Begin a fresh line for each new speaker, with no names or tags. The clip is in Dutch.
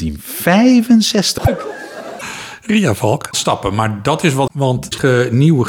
1965.
Ria Valk stappen. Maar dat is wat, want ge, nieuwe